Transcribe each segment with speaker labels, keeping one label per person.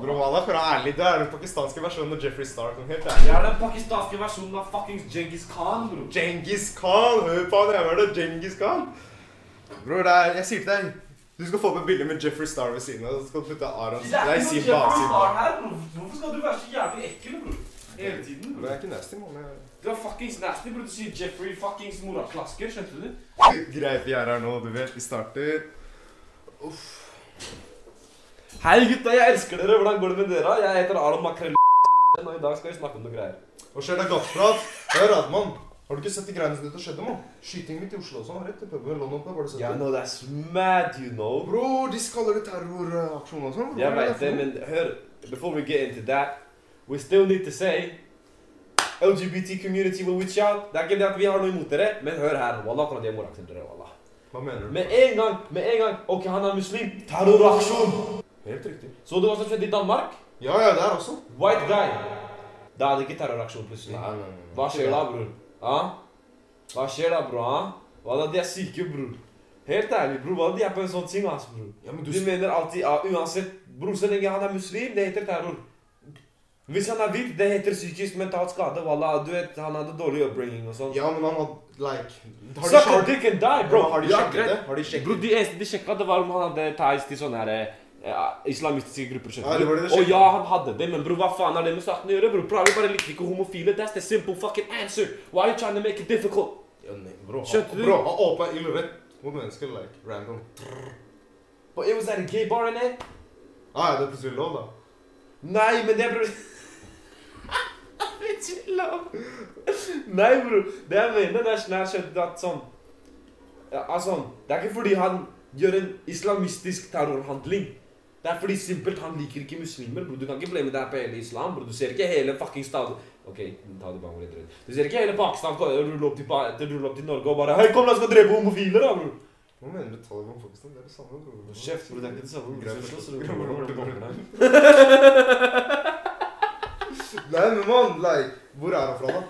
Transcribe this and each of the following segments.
Speaker 1: Bro, man er fra ærlig. Du er den pakistanske versjonen av Jeffrey Star. Sånn helt
Speaker 2: Jeg
Speaker 1: ærlig.
Speaker 2: er den pakistanske versjonen av fuckings Djengis Khan, bro.
Speaker 1: Djengis Khan! Hør på han jævla Djengis Khan! Bror, det er, jeg sier til deg Du skal få opp et bilde med Jeffrey Star ved siden av. Så skal du putte Aron
Speaker 2: Det er
Speaker 1: Nei,
Speaker 2: ikke noe
Speaker 1: Simba.
Speaker 2: Jeffrey
Speaker 1: Simba.
Speaker 2: Star her, bro. Hvorfor skal du være så jævlig ekkel, bro? Hele tiden,
Speaker 1: Men
Speaker 2: bro.
Speaker 1: jeg er ikke nasty, mann. Jeg-
Speaker 2: Du er fuckings nasty, bro. Du sier Jeffrey fuckings moraklasker, skjønte du?
Speaker 1: Greit, vi er her nå. Du vet, vi starter.
Speaker 2: Hei gutta, jeg elsker dere. Hvordan går det med dere? Jeg heter Aron Makrell. Og i dag skal vi snakke om noe greier.
Speaker 1: Hva skjer? Det er gassprat. Hør, Adman. Har du ikke sett de greiene som dette skjedde, mann? Skytingen midt i Oslo også. Rett i puben i London. Pub, har du sett
Speaker 2: Yeah,
Speaker 1: det?
Speaker 2: no, that's mad, you know.
Speaker 1: Bro, de kaller det terroraksjon og sånn. Hva
Speaker 2: Yeah,
Speaker 1: er
Speaker 2: right
Speaker 1: for noe?
Speaker 2: then. And her, before we get into that, we still need to say LGBT community will reach out. Det er ikke det at vi har noe imot dere, men hør her. Wallah, hvordan de er morakter dere, wallah.
Speaker 1: Hva mener du?
Speaker 2: Med en gang, med en gang. Ok, han er muslim. Terroraksjon!
Speaker 1: Helt riktig.
Speaker 2: Så du hva som skjedde i Danmark?
Speaker 1: Ja, ja, der også.
Speaker 2: White guy. Da er det ikke terroraksjon plutselig.
Speaker 1: Nei, nei, nei.
Speaker 2: Hva skjer da, bror? Ja? Hva skjer da, bror? Ja? Hva da, de er syke, bror. Helt ærlig, bror. Hva da, de er på en sånn ting, ass, bror.
Speaker 1: Ja, men du
Speaker 2: De mener alltid ja, uansett Bror, så lenge han er muslim, det heter terror. Hvis han er hvit, det heter psykisk mental skade. Wallah, du vet, han hadde dårlig upbringing og sånn.
Speaker 1: Ja, men han hadde like Har de
Speaker 2: Suck a
Speaker 1: sjekket
Speaker 2: dick and die, bro.
Speaker 1: bro, har de
Speaker 2: Ja,
Speaker 1: sjekket
Speaker 2: greit.
Speaker 1: det? Har de sjekket
Speaker 2: Bro, de, eneste de sjekka det var om han hadde ties til sånne her, eh, islamistiske grupper. skjønner
Speaker 1: Ja, det var det
Speaker 2: du?
Speaker 1: de sjekket.
Speaker 2: og ja, han hadde det, men bro, hva faen har det med saken å gjøre? bro? Bro, vi bare likte ikke homofile. That's the simple fucking answer. Why are you trying to make it difficult?
Speaker 1: Ja, nei, bro, han-
Speaker 2: Skjønte du?
Speaker 1: Bro, han åpna ild rett mot mennesker, like, random.
Speaker 2: But it was at a gay bar in it.
Speaker 1: Ah, ja, det er plutselig lov, da.
Speaker 2: Nei, men det er bro... Chill out. Nei, bro. Det jeg mener, det er sånn her skjønte du at sånn ja, Altså, det er ikke fordi han gjør en islamistisk terrorhandling. Det er fordi simpelt han liker ikke muslimer. bro. Du kan ikke blame det her på hele islam. bro. Du ser ikke hele fucking stad... Ok, ta det bare litt rundt. Du ser ikke hele Pakistan ko- rulle opp til, pa- rulle opp til Norge og bare Hei, kom, la oss gå og drepe homofile, da, bror.
Speaker 1: Hva mener du Taliban Pakistan? Det er det samme, bro.
Speaker 2: Kjeft, bror. Det er ikke det samme.
Speaker 1: Greit,
Speaker 2: Du skal slåss,
Speaker 1: greit,
Speaker 2: bror.
Speaker 1: greit, greit.
Speaker 2: Hvordan kommer det?
Speaker 1: Nei, men mann, like, hvor er han fra, da?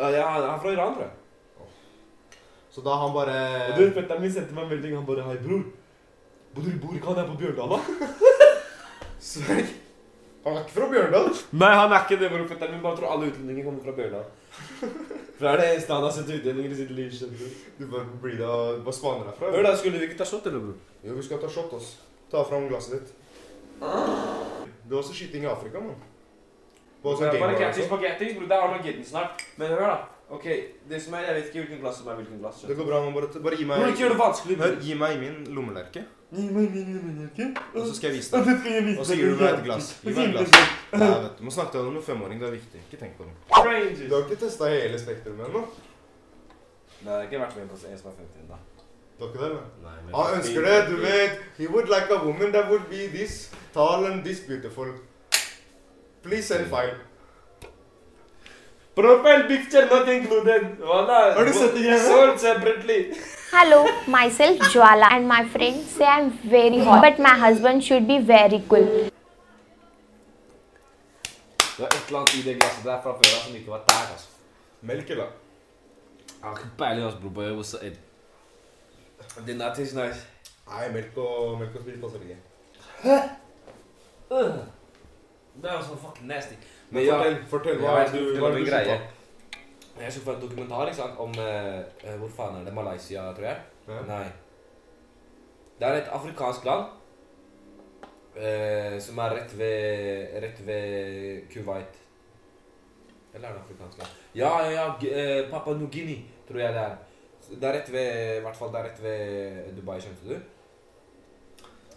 Speaker 2: Ja, ja, han er fra Iran, tror jeg.
Speaker 1: Så da han bare
Speaker 2: Og du, fetteren min sendte meg en melding. Han bare 'Hei, bror. Hvor du bor, kan jeg på Bjørndala?'
Speaker 1: Sverg. Han er ikke fra Bjørndal.
Speaker 2: Nei, han er ikke det, bror. Fetteren min bare tror alle utlendinger kommer fra Bjørndala. For det er det eneste han har sett utlendinger i sitt liv. skjønner du.
Speaker 1: Du bare blir da Hva spaner herfra?
Speaker 2: Hør da, skulle vi ikke ta shot, eller, bror?
Speaker 1: Jo, vi skal ta shot, ass. Ta fram glasset ditt. Det var også skyting i Afrika, mann. På sånn
Speaker 2: Bare
Speaker 1: gamer,
Speaker 2: catchy
Speaker 1: altså.
Speaker 2: spagetti, bror. Det er Armageddon snart. Men hør, da. Ok, det som er, Jeg vet ikke hvilken glass som er hvilken glass.
Speaker 1: altså. Det
Speaker 2: skjønner
Speaker 1: går
Speaker 2: du.
Speaker 1: bra, mann. Bare, bare gi
Speaker 2: Bror, ikke gjør
Speaker 1: meg
Speaker 2: det vanskelig.
Speaker 1: Hør, gi meg min lommelerke, og så skal jeg vise deg. Og så gir du meg et glass. Gi meg et glass. Nei, vet du, Må snakke til deg om en femåring. Det er viktig. Ikke tenk på det. Du
Speaker 2: Strangers.
Speaker 1: har ikke testa hele spektrumet ennå?
Speaker 2: Nei, det har ikke vært med på en som er 50 ennå.
Speaker 1: Du har ikke det, eller?
Speaker 2: Nei, men- Ah,
Speaker 1: Han ønsker det, du vet. He would like a woman that would be this tall and this beautiful. Please send file.
Speaker 2: Profile picture not included. Voilà.
Speaker 1: Har du sett det greiene?
Speaker 2: Sold separately.
Speaker 3: Hello, myself Jwala and my friends say I'm very hot, but my husband should be very cool.
Speaker 2: Det var et eller annet i det glasset der fra før av som ikke var der, altså.
Speaker 1: Melk, eller?
Speaker 2: Jeg har ikke peiling, altså, bror. Bare what's it? Den der tastes nice.
Speaker 1: Nei, melk og, melk og sprit passer ikke.
Speaker 2: Ugh. Øh. Det er jo sånn fucking nasty.
Speaker 1: Men
Speaker 2: Men ja,
Speaker 1: fortell, fortell hva
Speaker 2: ja,
Speaker 1: er
Speaker 2: jeg
Speaker 1: det
Speaker 2: skulle
Speaker 1: du, hva er
Speaker 2: fortelle
Speaker 1: det
Speaker 2: om en
Speaker 1: du
Speaker 2: greie.
Speaker 1: syns om?
Speaker 2: Jeg skulle få en dokumentar ikke sant, om eh, eh, Hvor faen er det? Malaysia, tror jeg?
Speaker 1: Ja.
Speaker 2: Nei. Det er et afrikansk land eh, som er rett ved, rett ved Kuwait. Eller er det afrikansk land? Ja, ja, ja. G- eh, Papua New-Guinea, tror jeg det er. Så Det er rett ved, i hvert fall det er rett ved Dubai, skjønte du?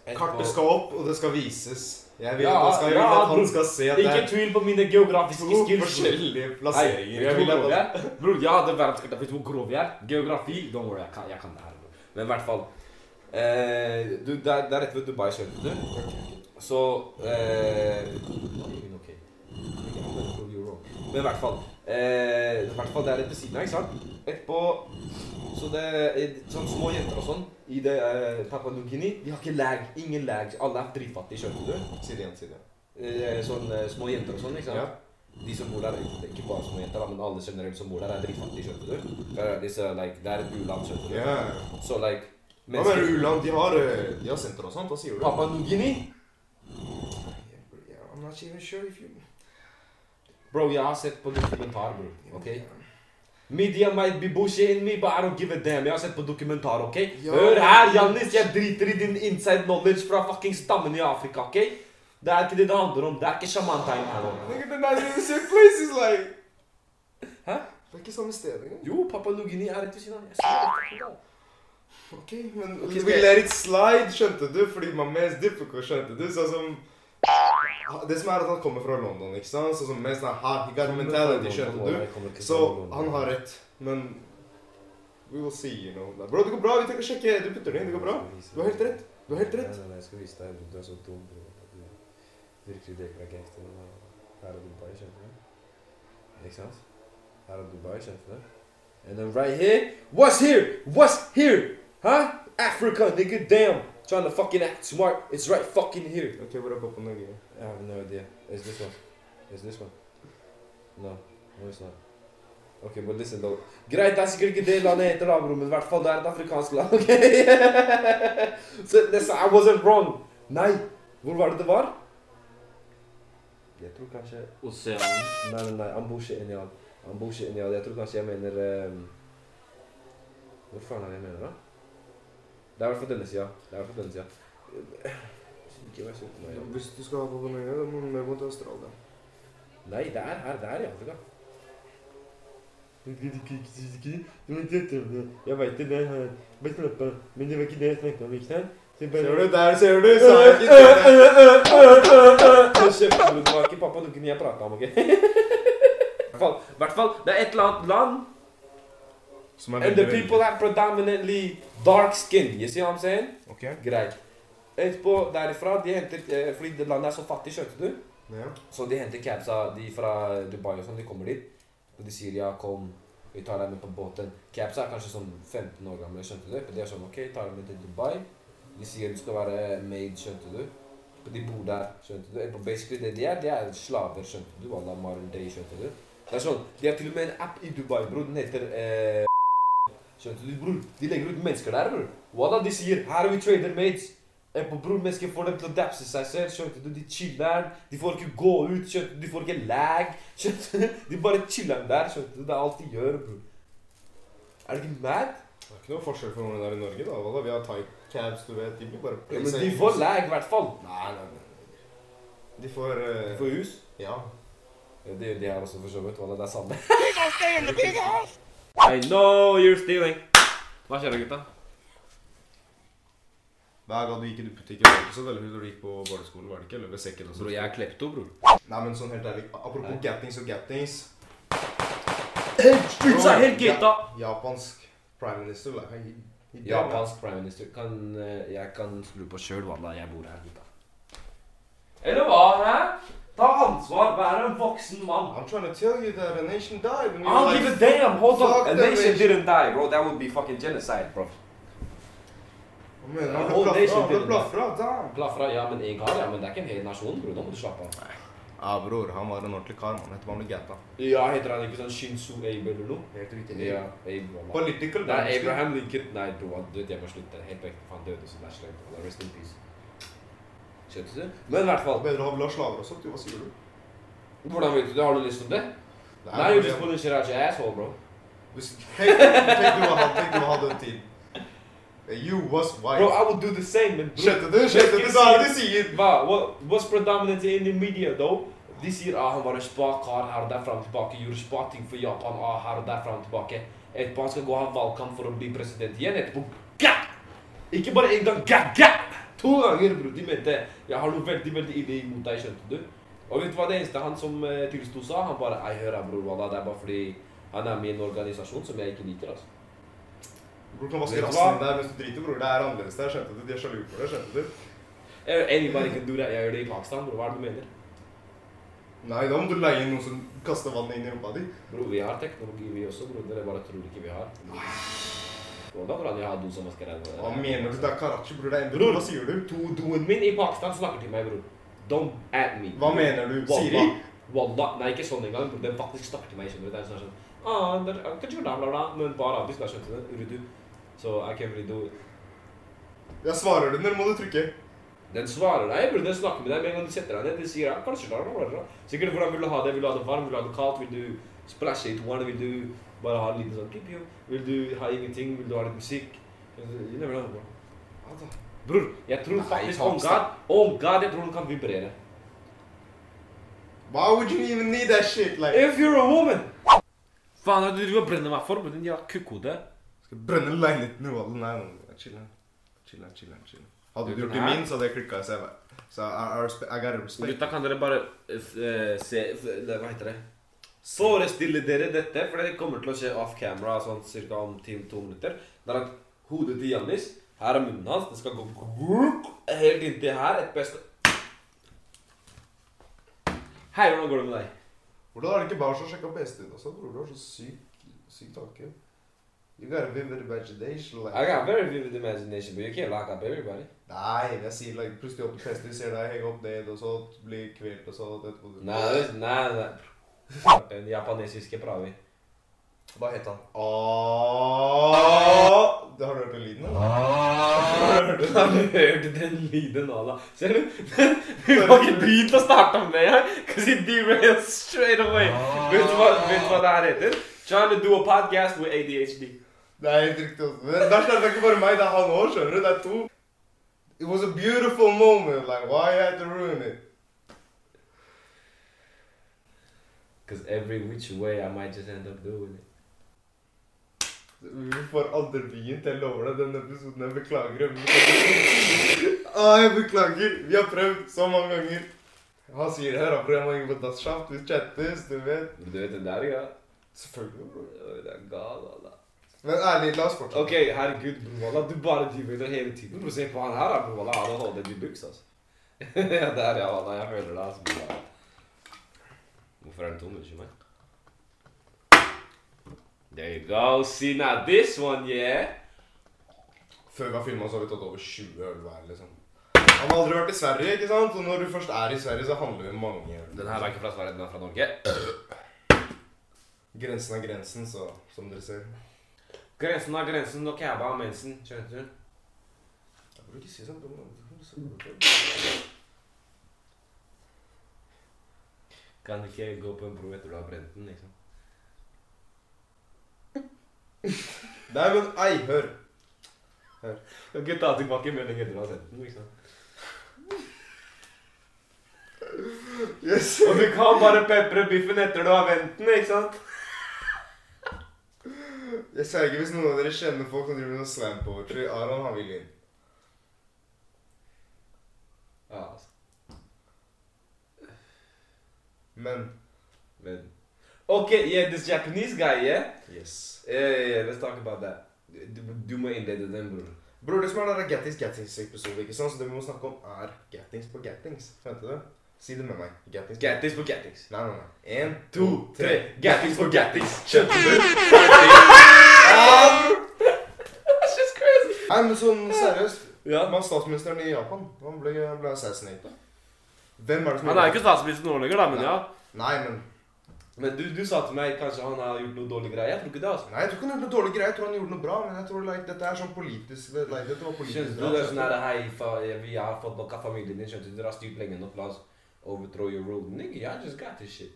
Speaker 2: Etterpå-
Speaker 1: Kartet skal opp, og det skal vises. Jeg vil
Speaker 2: Ja,
Speaker 1: at han skal, jeg vil
Speaker 2: ja,
Speaker 1: at han skal se at det
Speaker 2: Ikke
Speaker 1: er
Speaker 2: tvil på mine
Speaker 1: to
Speaker 2: geografiske skills.
Speaker 1: forskjellige
Speaker 2: Nei,
Speaker 1: plasseringer.
Speaker 2: jeg vil
Speaker 1: To
Speaker 2: at
Speaker 1: forskjellige-
Speaker 2: jeg Bror, jeg hadde verdenskartet. Vet du hvor grov jeg er? Geografi? Don't worry, jeg kan, jeg kan det her. bror. Men i hvert fall eh, du, det, er, det er rett ved Dubai, skjønte du? Så eh, ok. Men i hvert fall eh, I hvert fall det er rett ved siden av, ikke sant? Etterpå Så det er sånn små jenter og sånn i det eh, Papua New-Guinea, de har ikke lag. Ingen lag. Alle er dritfattige, skjønte du?
Speaker 1: Side igjen, side igjen.
Speaker 2: Eh, sånn eh, små jenter og sånn, ikke sant?
Speaker 1: Ja.
Speaker 2: De som bor der, ikke ikke bare små jenter, da, men alle generelt som bor der, er dritfattige, skjønte du? For disse, like, det er et u-land, skjønte du?
Speaker 1: Ja.
Speaker 2: Så, like,
Speaker 1: Hva
Speaker 2: mennesker...
Speaker 1: mener du, u-land? De har, eh, de har senter og sånt? Hva sier du?
Speaker 2: Papua New Guinea?
Speaker 1: not even sure if you...
Speaker 4: Bro, jag har sett på dokumentär bror, okej? Media might be bullshit in me but I don't give a damn. Jag har sett på dokumentär, okej?
Speaker 1: Ja.
Speaker 4: Hör här Jannis, jag driter i din inside knowledge från fucking stammen i Afrika, okej? Det här är inte det det handlar om, det här är inte shaman-time hallå.
Speaker 1: Look at the nice in the same place, it's like...
Speaker 4: Hæ?
Speaker 1: Det er ikke samme sted engang.
Speaker 4: Jo, Papua New Guinea er rett ved siden av. Jeg ser det.
Speaker 1: Ok, men
Speaker 4: Ok,
Speaker 1: vi
Speaker 4: skal jeg-
Speaker 1: let it slide, skjønte du? Fordi my man's difficult, skjønte du? Sånn som... Det som er at han kommer fra London, ikke sant? Sånn som mens han har he got mentality, skjønte du? Så han har rett, men We will see, you know. Bro, det går bra. Vi tenker å sjekke. Du putter det inn. Det går bra. Du har helt rett. Du har helt rett.
Speaker 2: Nei, nei, nei, jeg skal vise deg. Du er så dum, bro. at Du virkelig dekker deg gangster. men Her er Dubai, skjønner du? Ikke sant? Her er Dubai, skjønner du? And then right here, what's here? What's here? Huh? Africa, nigga, damn. Trying to fucking act smart. It's right fucking here.
Speaker 1: Ok, hvor er koppen Norge?
Speaker 2: I have no idea. It's this one. It's this one. No, no, it's not. Okay, but listen though. Greit, det er sikkert ikke det landet heter da, bro, men i hvert fall det er et afrikansk land, ok? so, this, I wasn't wrong. Nei, hvor var det det var? Jeg tror kanskje...
Speaker 4: Oceanen.
Speaker 2: Nei, nei, nei, han bor ikke inni han. Han bor ikke inni han. Jeg tror kanskje jeg mener... ehm, Hvor faen er det jeg mener da? Det er i hvert fall denne siden. Det er i hvert fall denne siden. Ikke vær sulten, nei.
Speaker 1: Hvis du skal ha koppen Norge, da må du mer mot Australia.
Speaker 2: Nei, det er her, det er i Afrika.
Speaker 4: Jeg veit det, det her. Bare slapp av. Men det var ikke det jeg snakka om, ikke sant? Så
Speaker 1: Ser
Speaker 4: jeg bare- Øh,
Speaker 1: du? Der ser du! Sa jeg ikke det?
Speaker 2: Og kjøpte du var ikke pappa du kunne jeg prate om, ok? I hvert fall- I hvert fall, det er et eller annet land,
Speaker 1: Som
Speaker 2: and the people are predominantly dark skin, you see what I'm saying?
Speaker 1: Ok.
Speaker 2: Greit. Etterpå, derifra, de henter, eh, fordi det landet er så fattig, skjønte du?
Speaker 1: Ja.
Speaker 2: Så de henter capsa, de fra Dubai og sånn, de kommer dit. Og de sier ja, kom, vi tar deg med på båten. Capsa er kanskje sånn 15 år gamle, skjønte du? Og de er sånn, ok, tar deg med til Dubai. De sier du skal være maid, skjønte du? Og de bor der, skjønte du? Og basically det de er, de er slaver, skjønte du? Alla Marul Day, skjønte du? Det er sånn, de har til og med en app i Dubai, bror, den heter eh, Skjønte du, bror? De legger ut mennesker der, bror. Walla, de sier her er vi trader mates. Eh, på bror, mennesker får dem til å dapse seg selv, skjønte du? De chiller'n. De får ikke gå ut, skjønte du? De får ikke lag. Skjønte du? De bare chiller'n der, skjønte du? Det er alt de gjør, bror. Er du ikke mad?
Speaker 1: Det er ikke noe forskjell for hvordan det er i Norge, da. Hva da? Vi har thai cabs, du vet. De blir bare
Speaker 2: Ja, men de får lag, i hvert fall.
Speaker 1: Nei, nei, nei. De får
Speaker 2: De
Speaker 1: eh,
Speaker 2: får hus.
Speaker 1: Ja.
Speaker 2: Ja, det gjør de her også, for så vidt. Walla, det er samme.
Speaker 4: I know you're stealing. Hva skjer da, gutta?
Speaker 1: Hver gang du gikk i butikken, var det ikke så veldig hyggelig når du gikk på barneskolen, var det ikke? Eller ved sekken også?
Speaker 4: jeg er klepto, bror.
Speaker 1: Nei, men sånn helt ærlig, apropos
Speaker 4: Nei.
Speaker 1: gattings og gattings
Speaker 4: Streets er helt gutta.
Speaker 1: Japansk prime minister, like, he, he
Speaker 2: Japansk prime minister. Kan, eh, jeg kan skru på sjøl, walla. Jeg bor her, gutta.
Speaker 4: Eller hva, hæ? Ta ansvar, vær en voksen mann.
Speaker 1: I'm trying to tell you that a nation died when you
Speaker 4: I
Speaker 1: were
Speaker 4: don't
Speaker 1: like
Speaker 4: give a damn, hold
Speaker 1: Fuck
Speaker 4: on. A
Speaker 1: the
Speaker 4: nation
Speaker 1: nation.
Speaker 4: didn't die, bro. That would be fucking genocide, bro.
Speaker 1: Å, men,
Speaker 2: The
Speaker 1: Oh, han
Speaker 2: whole
Speaker 1: ble
Speaker 2: nation
Speaker 1: blaffra, han ble
Speaker 2: didn't
Speaker 1: blaffra, damn
Speaker 2: Blafra, ja, men jeg har ja, men det er ikke en hel nasjon, bror. Nå må du slappe av.
Speaker 1: Ja, bror, han var en ordentlig kar, man, etter han ble gatta
Speaker 2: Ja, heter han ikke sånn Shinsu Abe eller noe?
Speaker 1: Helt riktig
Speaker 2: Ja, Abe, walla.
Speaker 1: Political
Speaker 2: Nei,
Speaker 1: dynasty.
Speaker 2: Abraham Lincoln. Nei, bro, han døde. Jeg må slutte. Helt vekk. Han døde, så det er slemt. walla. Rest in peace. Skjønte du? Men
Speaker 1: Det
Speaker 2: i hvert
Speaker 1: var
Speaker 2: fall.
Speaker 1: Bedre å ha Lars Lager også, du, hva sier du?
Speaker 2: Hvordan vet du det? Har du lyst til det?
Speaker 1: Det er
Speaker 2: Nei,
Speaker 1: jo
Speaker 2: you just
Speaker 1: det-
Speaker 2: put a shit out your asshole, bro.
Speaker 1: Hvis- Tenk tenk du å ha- tenk du å ha den tiden Eh, You was
Speaker 4: Bro, ah,
Speaker 1: white
Speaker 4: I would do the same, men bror.
Speaker 1: Skjønte du? Skjønte du?
Speaker 4: Ikke
Speaker 1: Så er det de sier
Speaker 4: Hva? What, what's predominant in the media, though? De sier ah, han var en spa kar her og der fram og tilbake. Gjorde spa ting for Japan ah, her og der fram og tilbake. Etterpå han skal gå og ha valgkamp for å bli president igjen. Etterpå ga! Ikke bare én gang, ga, ga! To ganger, bror. De mente jeg har noe veldig veldig ille imot deg, skjønte du? Og vet du hva det eneste han som eh, tilsto sa? Han bare ei, hør her, bror, wallah, det er bare fordi han er med i en organisasjon som jeg ikke liker, altså.
Speaker 1: Bror, du kan vaske
Speaker 4: Vet du
Speaker 1: rassen
Speaker 4: hva?
Speaker 1: din der mens du driter, bror Det er annerledes der, skjønte du? De er sjalu for deg, skjønte du?
Speaker 4: Eh, Anybody can do that. Jeg gjør det i Pakistan, bror. Hva er det du mener?
Speaker 1: Nei, da må du leie inn noen som kaster vann inn i rumpa di.
Speaker 4: Bro, vi har teknologi vi også, bro. Dere bare tror ikke vi har. Og da hvordan jeg har do som vasker
Speaker 1: Hva
Speaker 4: ræva?
Speaker 1: mener du? Det er karachi, bror. Det er
Speaker 4: Bror.
Speaker 1: bror. Hva sier du?
Speaker 4: Do- Doen min i Pakistan snakker til meg, bro. Don't at me.
Speaker 1: Hva mener du?
Speaker 4: Wallah.
Speaker 1: Siri?
Speaker 4: Wallah. Nei, ikke sånn engang. bro. Den faktisk snakker til meg, skjønner du. Det er sånn sånn ah, der, ah, kanskje bla, bla, bla. Men på arabisk, da skjønte du det. Urdu. Så I can't really do it.
Speaker 1: Jeg svarer du når må du trykke.
Speaker 2: Den svarer deg, bro. Den snakker med deg med en gang du setter deg ned. Den sier ja, kanskje da, da, da. Sikkert hvordan vil du ha det? Vil du ha det varmt? Vil du ha det kaldt? Vil du splæsje i toeren? Vil du bare ha en liten sånn pip, Vil du ha ingenting? Vil du ha litt musikk? You never know, bro. Altså, Bror, jeg tror
Speaker 5: Nei,
Speaker 2: faktisk
Speaker 5: faen,
Speaker 2: Oh god, oh god, jeg tror den kan vibrere.
Speaker 1: Why would you even need that shit?
Speaker 4: Eh.
Speaker 1: Like,
Speaker 2: If you're a woman! Faen, hva er det du driver og brenner meg for med din jævla kukkhode?
Speaker 1: skal brenne leiligheten i volden her. Chill, chill, chill, chill. Hadde du gjort det min, så hadde jeg klikket, så jeg bare. Så I, I, respe- I gotta respect.
Speaker 2: Gutta, kan dere bare eh, f- eh, se f- det- Hva heter det? Forestille dere dette, for det kommer til å skje off camera sånn cirka om 10-2 minutter. Det er at hodet til Jannis Her er munnen hans. Det skal gå vruk, helt inntil her. Et best Hei, hvordan går det med deg?
Speaker 1: Hvordan er det ikke bare så å sjekke best din også, bror? Du har så syk, syk tanke. You gotta vivid imagination, like.
Speaker 5: I got very vivid imagination, but you can't lock up everybody.
Speaker 1: Nei, jeg sier like, plutselig opp til fest, de ser deg henge opp ned og sånt, bli kvelt og sånt. etterpå du-
Speaker 5: Nei, det- nei, nei. Den japanesiske pravi.
Speaker 1: Hva het han? Ååå Har du hørt den lyden, eller?
Speaker 2: Har du hørt den lyden av deg? Ser du? Vi var ikke begynt å starte med her. Because it derails straight away.
Speaker 5: Ah.
Speaker 2: Vet du hva, vet du hva det her heter? Trying to do a podcast with ADHD.
Speaker 1: Det er helt riktig. også. Men Det er slett ikke bare meg, det er han òg, skjønner du. Det er to. It was a beautiful moment. Like, why you had to ruin it?
Speaker 5: Because every which way I might just end up doing it.
Speaker 1: Vi får aldri begynt, jeg lover deg. Denne episoden jeg beklager. Jeg beklager. ah, jeg beklager. Vi har prøvd så mange ganger. Han sier her at programmet henger på dassshaft. Vi chattes, du vet.
Speaker 5: Du vet den der, ja?
Speaker 1: Selvfølgelig. bror.
Speaker 5: Det er gal, alla.
Speaker 1: Men ærlig, la oss fortsette.
Speaker 2: Ok, herregud, Bruvala, du bare driver med det hele tiden. Bro, se på han her, da, Bruvala. Han har holdt i buks, altså.
Speaker 5: ja, der, ja, alla. Jeg hører deg, altså. Bra. Hvorfor er den tom? Unnskyld meg.
Speaker 2: There you go. See, now this one, yeah.
Speaker 1: Før vi har filma, har vi tatt over 20 øl hver. liksom. Han har aldri vært i Sverige, ikke sant? Og når du først er i Sverige, så handler det om mange øl.
Speaker 5: Den her er ikke fra Sverige, den er fra Norge.
Speaker 1: Grensen er grensen, så, som dere ser.
Speaker 2: Grensen av grensen, og kæva av mensen. Skjønte du?
Speaker 1: Jeg burde ikke si sånn. men- sånn-
Speaker 5: Kan ikke gå på en bro etter du har brent den, liksom.
Speaker 1: Nei, men ei, hør.
Speaker 5: Du kan ikke ta tilbake meldingen du har sendt den, liksom.
Speaker 1: Yes.
Speaker 2: Og du kan bare pepre biffen etter du har vendt den, ikke sant?
Speaker 1: Jeg sverger hvis noen av dere kjenner folk som driver med noe slam poetry. Aron han vil inn.
Speaker 5: Ja, altså.
Speaker 1: Men
Speaker 5: Men,
Speaker 2: Ok, yeah, this Japanese guy, yeah?
Speaker 1: yes.
Speaker 5: yeah, yeah, yeah, let's talk about that. Du, du må innlede den, bror.
Speaker 1: Bror, det som er der er Gattings Gattings-episode, ikke sant? Så det vi må snakke om, er Gattings på Gattings. Skjønte du? det? Si det med meg. Gattings. på-
Speaker 2: Gattings på gattings.
Speaker 1: Nei, nei, nei. En,
Speaker 2: To, tre. Gattings på gattings. Skjønte du? That's just crazy.
Speaker 1: Nei, men sånn seriøst.
Speaker 2: Ja.
Speaker 1: Han var statsministeren i Japan. Han ble, han ble assassinated. Hvem er det som
Speaker 2: Han er jo ikke statsminister nå lenger, da, men ja.
Speaker 1: Nei, men
Speaker 2: Men du, du sa til meg kanskje han har gjort noe dårlig greie. Jeg tror ikke det, altså.
Speaker 1: Nei, jeg tror ikke han gjorde noe dårlig greie. Jeg tror han gjorde noe bra. Men jeg tror like, dette er sånn politisk det- Nei, dette var politisk
Speaker 5: Skjønte du det er sånn her, hei, fa, vi har fått nok av familien din, skjønte du, dere har styrt lenge nok, la oss overthrow your rule. Nigga, I just got this shit.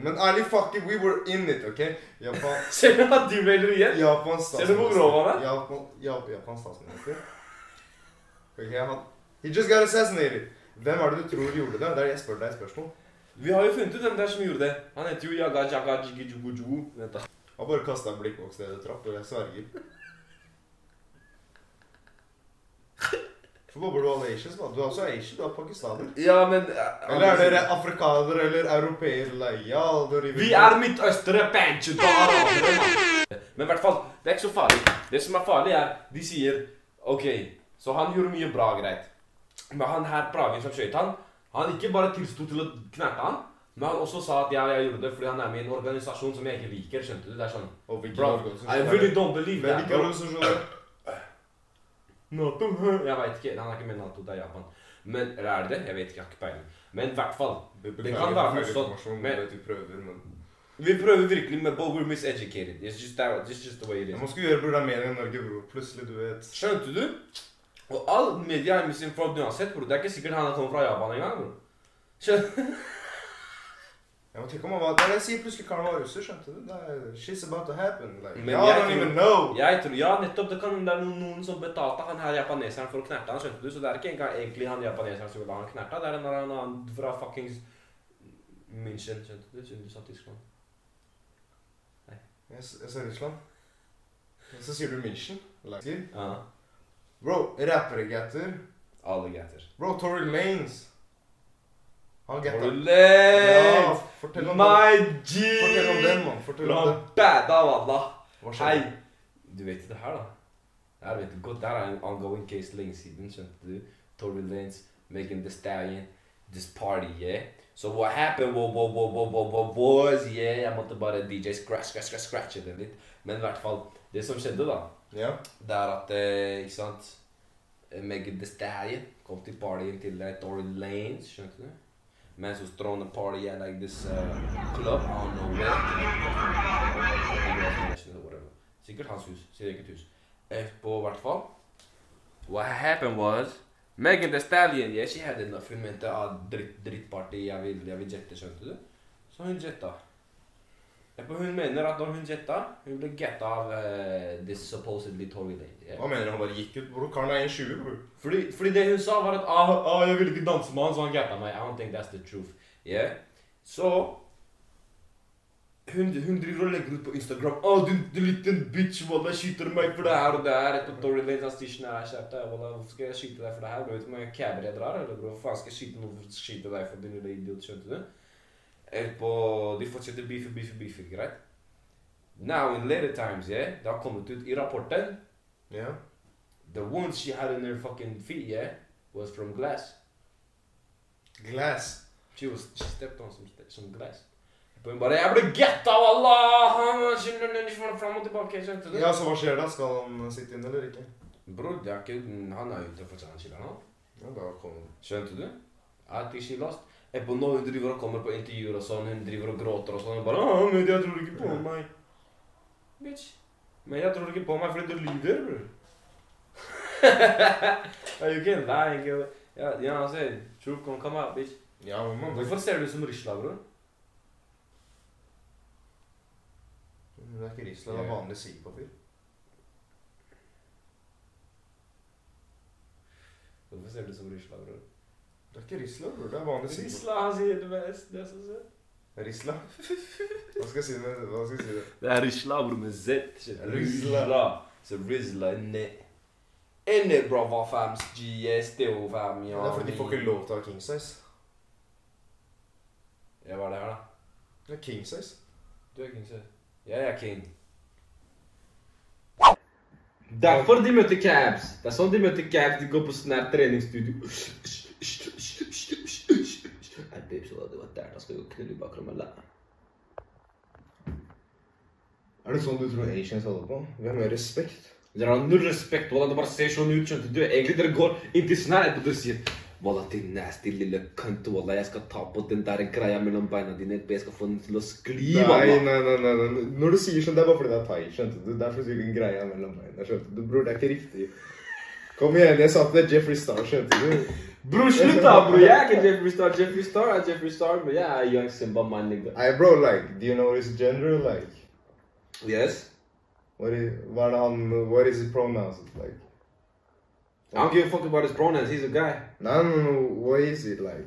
Speaker 1: Men ærlig fucking, we were in it, OK? Japan,
Speaker 2: Ser du at du melder igjen?
Speaker 1: Japans
Speaker 2: Ser du hvor grov han er?
Speaker 1: Japan, Jap- Japans statsminister. Ok, han He just got assassinated. Hvem er det du tror gjorde det? Det er Jeg spør deg et spørsmål.
Speaker 2: Vi har jo funnet ut hvem det er som gjorde det. Han heter jo Yaga Jaga Jigijugujugu. Vent da.
Speaker 1: Han bare kasta en blikkboks ned en trapp, og jeg sverger. Hvorfor bobler du alle asians, mann? Du er også asian, du er pakistaner.
Speaker 2: Ja, men eh,
Speaker 1: Eller er dere afrikanere eller europeere? eller- Ja, dere
Speaker 2: Vi er midtøstere panchudara. Men i hvert fall, det er ikke så farlig. Det som er farlig, er de sier OK, så han gjorde mye bra, greit. Men han her Pragen som skøyt han, han ikke bare tilsto til å knerte han, men han også sa at ja, jeg gjorde det fordi han er med i en organisasjon som jeg ikke liker. Skjønte du? Det er sånn
Speaker 1: Og hvilken
Speaker 2: Bro,
Speaker 1: organisasjon
Speaker 2: I
Speaker 1: er det?
Speaker 2: really don't believe
Speaker 1: Men
Speaker 2: that.
Speaker 1: hvilke
Speaker 2: Bro.
Speaker 1: organisasjoner?
Speaker 2: Nato, hæ? Jeg vet ikke. Han er ikke med i Nato, det er Japan. Men, eller er det det? Jeg vet ikke, jeg har ikke peiling. Men i hvert fall. Det kan være motstand.
Speaker 1: Men,
Speaker 2: Men
Speaker 1: vi prøver, men...
Speaker 2: vi prøver virkelig med but we're miseducated. It's just, that, it's just the way it is.
Speaker 1: Jeg må skulle gjøre programmering i Norge, bror. Plutselig, du vet.
Speaker 2: Skjønte du? Og all media er misinformert uansett, bror. Det er ikke sikkert han kommer fra Japan engang, bror. Skjønner
Speaker 1: Ja, men tenk om han var Der jeg sier plutselig karen var russer, skjønte du? Det er, shit's about to happen. Like,
Speaker 2: Men
Speaker 1: y'all
Speaker 2: jeg
Speaker 1: don't
Speaker 2: tror-
Speaker 1: even know.
Speaker 2: Jeg tror, ja, nettopp. Det, kan, det er noen, noen som betalte han her japaneseren for å knerte han, skjønte du? Så det er ikke engang egentlig han japaneseren som gjorde han knerta, det er en eller annen fra fuckings München, skjønte du? Siden du sa Tyskland.
Speaker 1: Jeg, s- jeg ser Russland. Og så sier du München. Like,
Speaker 2: Ja.
Speaker 1: bro, rappergatter.
Speaker 2: Alle gater.
Speaker 1: Bro, Tory Lanes. Han gatta. Ja,
Speaker 2: Roulette!
Speaker 1: fortell om den.
Speaker 2: My G!
Speaker 1: Fortell om den, mann. Fortell om den.
Speaker 2: Bada walla.
Speaker 1: Hva
Speaker 2: Hei!
Speaker 1: skjedde?
Speaker 2: Du vet det her, da. Det her vet du godt. Det her er en ongoing case lenge siden, skjønte du? Tory Lanez, Megan Thee Stallion, this party, yeah? So what happened wa- wa- wa- wa- wa- wa- was, yeah? Jeg måtte bare DJ scratch, scratch, scratch, scratche det litt. Men i hvert fall, det som skjedde, da,
Speaker 1: Ja.
Speaker 2: det er at eh, Ikke sant? Eh, Megan Thee Stallion kom til partyen til eh, Tory Lanez, skjønte du? Mens hun strålende party at like this eh, club on the way. Sikkert hans hus. Sitt eget hus. Etterpå, i hvert fall What happened was Megan Thee Stallion yeah, she had enough. Hun mente ah, dritt, drittparty, jeg vil, jeg vil jette, skjønte du? Så hun jetta. Etterpå, hun mener at når hun jetta, hun ble getta av eh, this supposedly Tory lady. Yeah.
Speaker 1: Hva mener du? Han bare gikk ut? Bro, karen er 1,20, bro.
Speaker 2: Fordi, fordi det hun sa var at ah, ah, jeg ville ikke danse med han, så han gappa meg. I don't think that's the truth. Yeah. Så hun, hun driver og legger ut på Instagram Å, din, din liten bitch, wallah, skyter meg for det her og det her. Etter Tory Lanez han sier sånn her, kjært deg, wallah, hvorfor skal jeg skyte deg for det her? Bro, vet du hvor mange cabber jeg drar, eller bro? Hva faen skal jeg skyte noen for å skyte deg for, din lille idiot, skjønte du? Etterpå De fortsetter beefe, beefe, beefe, greit. Now in later times, yeah, det har kommet ut i rapporten
Speaker 1: Ja.
Speaker 2: The wound she had in her fucking feet, yeah, was from glass.
Speaker 1: Glass.
Speaker 2: She was she stepped on some st- some glass. På en bare Jeg ble getta av Allah! Han skynder den ikke fram og tilbake. Skjønte du?
Speaker 1: Ja, så hva skjer da? Skal han eh, sitte inne eller ikke?
Speaker 2: Bror, det er ikke Han er ute for seg, han nå.
Speaker 1: Ja, da kommer
Speaker 2: Skjønte du? At she lost. Jeg på nå hun driver og kommer på intervjuer og sånn. Hun driver og gråter og sånn. Hun bare «Åh, men jeg tror ikke på meg. Bitch. Men jeg tror ikke på meg fordi du lyver, bror. Are you kidding? Lying, girl. Ja, ja, altså, han sier Truth gonna come out, bitch.
Speaker 1: Ja, men man, det,
Speaker 2: Hvorfor ser du ut som Rishla, bror?
Speaker 1: det er ikke Risla, det er vanlig sigpapir.
Speaker 2: Hvorfor ser du ut som Rishla, bror?
Speaker 1: Det er ikke Risla, bror. Det er vanlig sigpapir.
Speaker 2: han sier det best. Det er så søtt.
Speaker 1: Risla? Hva skal jeg si det? Hva skal jeg si det?
Speaker 2: Det er Rishla, bror, med Z. shit.
Speaker 1: Rizla.
Speaker 2: Så Rizla inni. Inni, bror, hva fams GS, det er jo fam,
Speaker 1: Det
Speaker 2: ja.
Speaker 1: er fordi de får ikke lov til å ha king size.
Speaker 2: Ja, hva er det her, da?
Speaker 1: Det er king size.
Speaker 2: Du er king, søtt. Jeg er king.
Speaker 6: Derfor de møter cabs. Det er sånn de møter cabs. De går på snært treningsstudio. Nei, babe, så det var der. Da skal jeg jo knulle i bakrommet. la.
Speaker 1: Er det sånn du tror Asians holder på? Vi har mer respekt.
Speaker 6: Dere har null respekt. Walla, det bare ser sånn ut. skjønte du? Egentlig dere går inntil snær etterpå og sier Walla, din nasty lille kønt. Walla, jeg skal ta på den der greia mellom beina dine. Jeg skal få den til å skli.
Speaker 1: Nei,
Speaker 6: Walla.
Speaker 1: nei, nei, nei, nei. Når du sier sånn, det er bare fordi det er thai, skjønte du? Det er fordi du ikke greier mellom beina, skjønte du? Bror, det er ikke riktig. Kom igjen, jeg sa at det er Jeffrey Star, skjønte du?
Speaker 6: Bror, slutt, da, bror. Jeg er ikke Jeffrey Star. Jeffrey Star er Jeffrey Star, men jeg er Young Simba, my nigga.
Speaker 1: Nei, bro, like, do you know his gender, like?
Speaker 6: Yes?
Speaker 1: What is, hva er det han, what is his pronouns, like?
Speaker 6: I don't give a fuck about his pronouns. He's a guy.
Speaker 1: Nei, men what is it, like?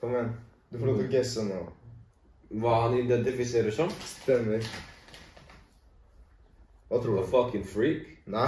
Speaker 1: Kom igjen, du får lov til å guesse nå.
Speaker 6: Hva han identifiserer som?
Speaker 1: Stemmer. Hva tror
Speaker 6: A
Speaker 1: du?
Speaker 6: fucking freak.
Speaker 1: Nei,